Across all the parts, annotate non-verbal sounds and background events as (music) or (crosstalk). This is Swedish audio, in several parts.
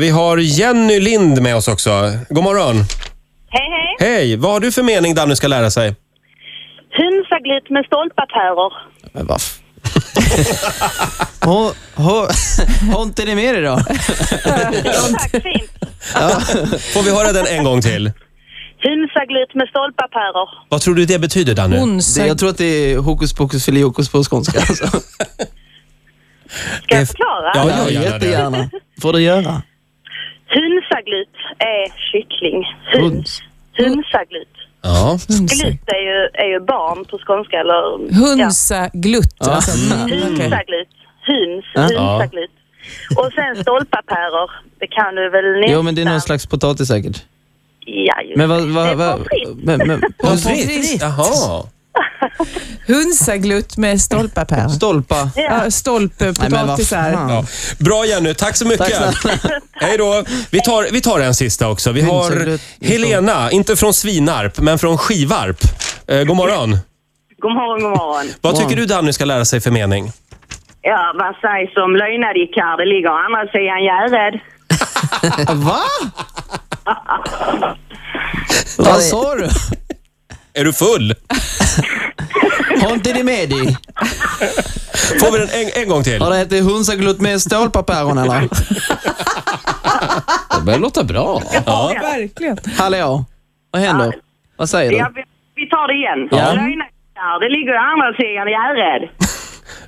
Vi har Jenny Lind med oss också. God morgon. Hej, hej. Hej! Vad har du för mening Danny ska lära sig? Hönsaglitt med stolpatärer. Men vad f- Har har- har inte ni med (laughs) er då? Jo, tack, (laughs) fint. Får vi höra den en gång till? Hönsaglitt med stolpatärer. Vad tror du det betyder Danny? Det, Onsdag. jag tror att det är hokus pokus filiokus på skånska. Alltså. Ska Det är- jag förklara? Ja, gör Ja, gärna det. jättegärna. får du göra. Hönsaglitt är kyckling. Höns. Höns. Hönsaglitt. Ja. Hunsa. Glitt är ju, är ju barn på skånska. Eller, Hunsa glutt. Alltså. Mm. okej. Hönsaglitt. Höns. Ja. Hönsaglitt. Och sen stolpapärer. Det kan du väl nästan? Jo, men det är någon slags potatis säkert. Ja, just Men vad... det. vad, Det är vad pommes frites. men, men, Pommes frites. frites. Jaha. Hunsa glutt med stolpapär. stolpa. Ja, stolpe, Nej, men vad potatisar. fan. Ja. Bra Jenny, tack så mycket. Tack (laughs) Hej då. Vi tar, vi tar en sista också. Vi har Hönsagröt. Helena, inte från Svinarp, men från Skivarp. Eh, god morgon. God morgon, god morgon. Vad Morgon. tycker du Danny ska lära sig för mening? Ja, vad sägs om löjnadikar? Det ligger å andra sidan Gärdet. Va? Vad sa du? Är du full? Har inte ni med dig? Får vi den en, en gång till? Har det ätit hönsaglutt med stålpapäron eller? Det börjar låta bra. Ja. Verkligen. Hallå? Vad händer? Vad säger du? Ja, vi, vi tar det igen. Ja. Löjnadikar, det ligger å andra sidan Gärdet.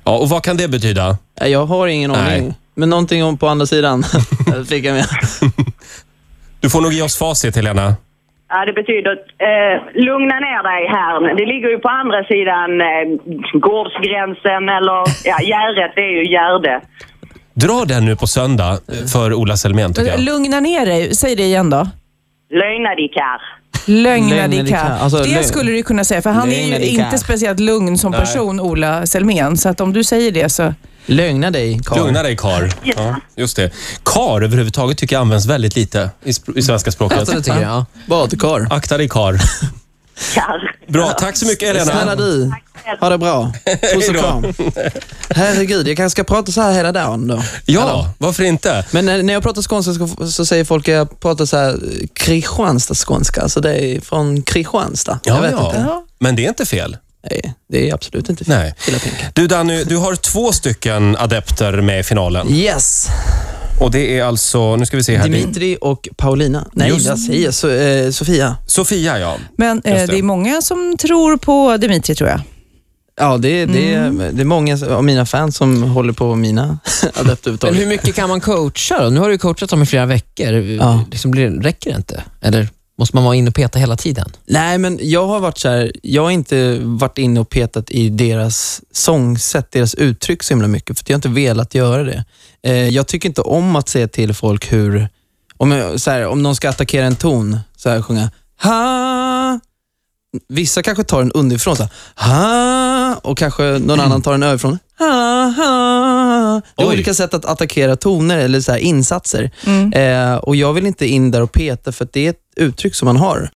ja. Och vad kan det betyda? Nej, Jag har ingen Nej. aning. Men någonting om på andra sidan (laughs) fick jag med. Du får nog ge oss facit Helena. Ja, det betyder eh, lugna ner dig här. Det ligger ju på andra sidan eh, gårdsgränsen eller ja, Gärdet, det är ju Gärde. Dra den nu på söndag Mm. eh, för Ola Selmén tycker jag. Lugna ner dig. Säg det igen då. Löjnadikar. Lögnadikar. Lögnadikar. Alltså, lögn- det skulle du kunna säga, för han är ju Lögnadikar. inte speciellt lugn som person, Ola Selmén. Så att om du säger det så... Lögna dig, Carl. Lugna dig kar. Ja, just det. Kar överhuvudtaget tycker jag används väldigt lite i, sp- i svenska språket. Alltså, det tycker jag. Badkar. Akta dig kar. Kar. Bra, tack så mycket Snälla Helena. du, ha det bra. Puss (laughs) och Hej då. kram. Herregud, jag kanske ska prata så här hela dagen då. Ja, varför inte? Men eh, när när jag pratar skånska så- så säger folk att jag pratar så här eh, Kristianstadsskånska. Alltså det är från Kristianstad. jag Ja, vet inte. ja. Men det är inte fel. Nej, det är absolut inte fel. Nej. Vill jag tänka. Du Danny, du har två stycken adepter med i finalen. Yes, Och det är alltså, nu ska vi se här. Det är Dimitri och Paulina. Nej, Just. jag säger so eh, Sofia. Sofia ja. Men eh, Just det. det. är många som tror på Dimitri, tror jag. Ja, det, det, är, det är många av mina fans som håller på mina (laughs) adepter Men hur överhuvudtaget. mycket kan man coacha då? Nu har du ju coachat dem i flera veckor. Ja. Liksom blir, räcker det inte? Eller måste man vara inne och peta hela tiden? Nej, men jag har varit så här, jag har inte varit inne och petat i deras sångsätt, deras uttryck så himla mycket, för att jag har inte velat göra det. Eh, jag tycker inte om att säga till folk hur, om, jag, så här, om någon ska attackera en ton, så här sjunga ha. Vissa kanske tar den underifrån, så här, ha, och kanske någon annan tar den överifrån. Ha, ha. Det är Oj. olika sätt att attackera toner eller så här insatser. Eh, och Jag vill inte in där och peta, för att det är ett uttryck som man har.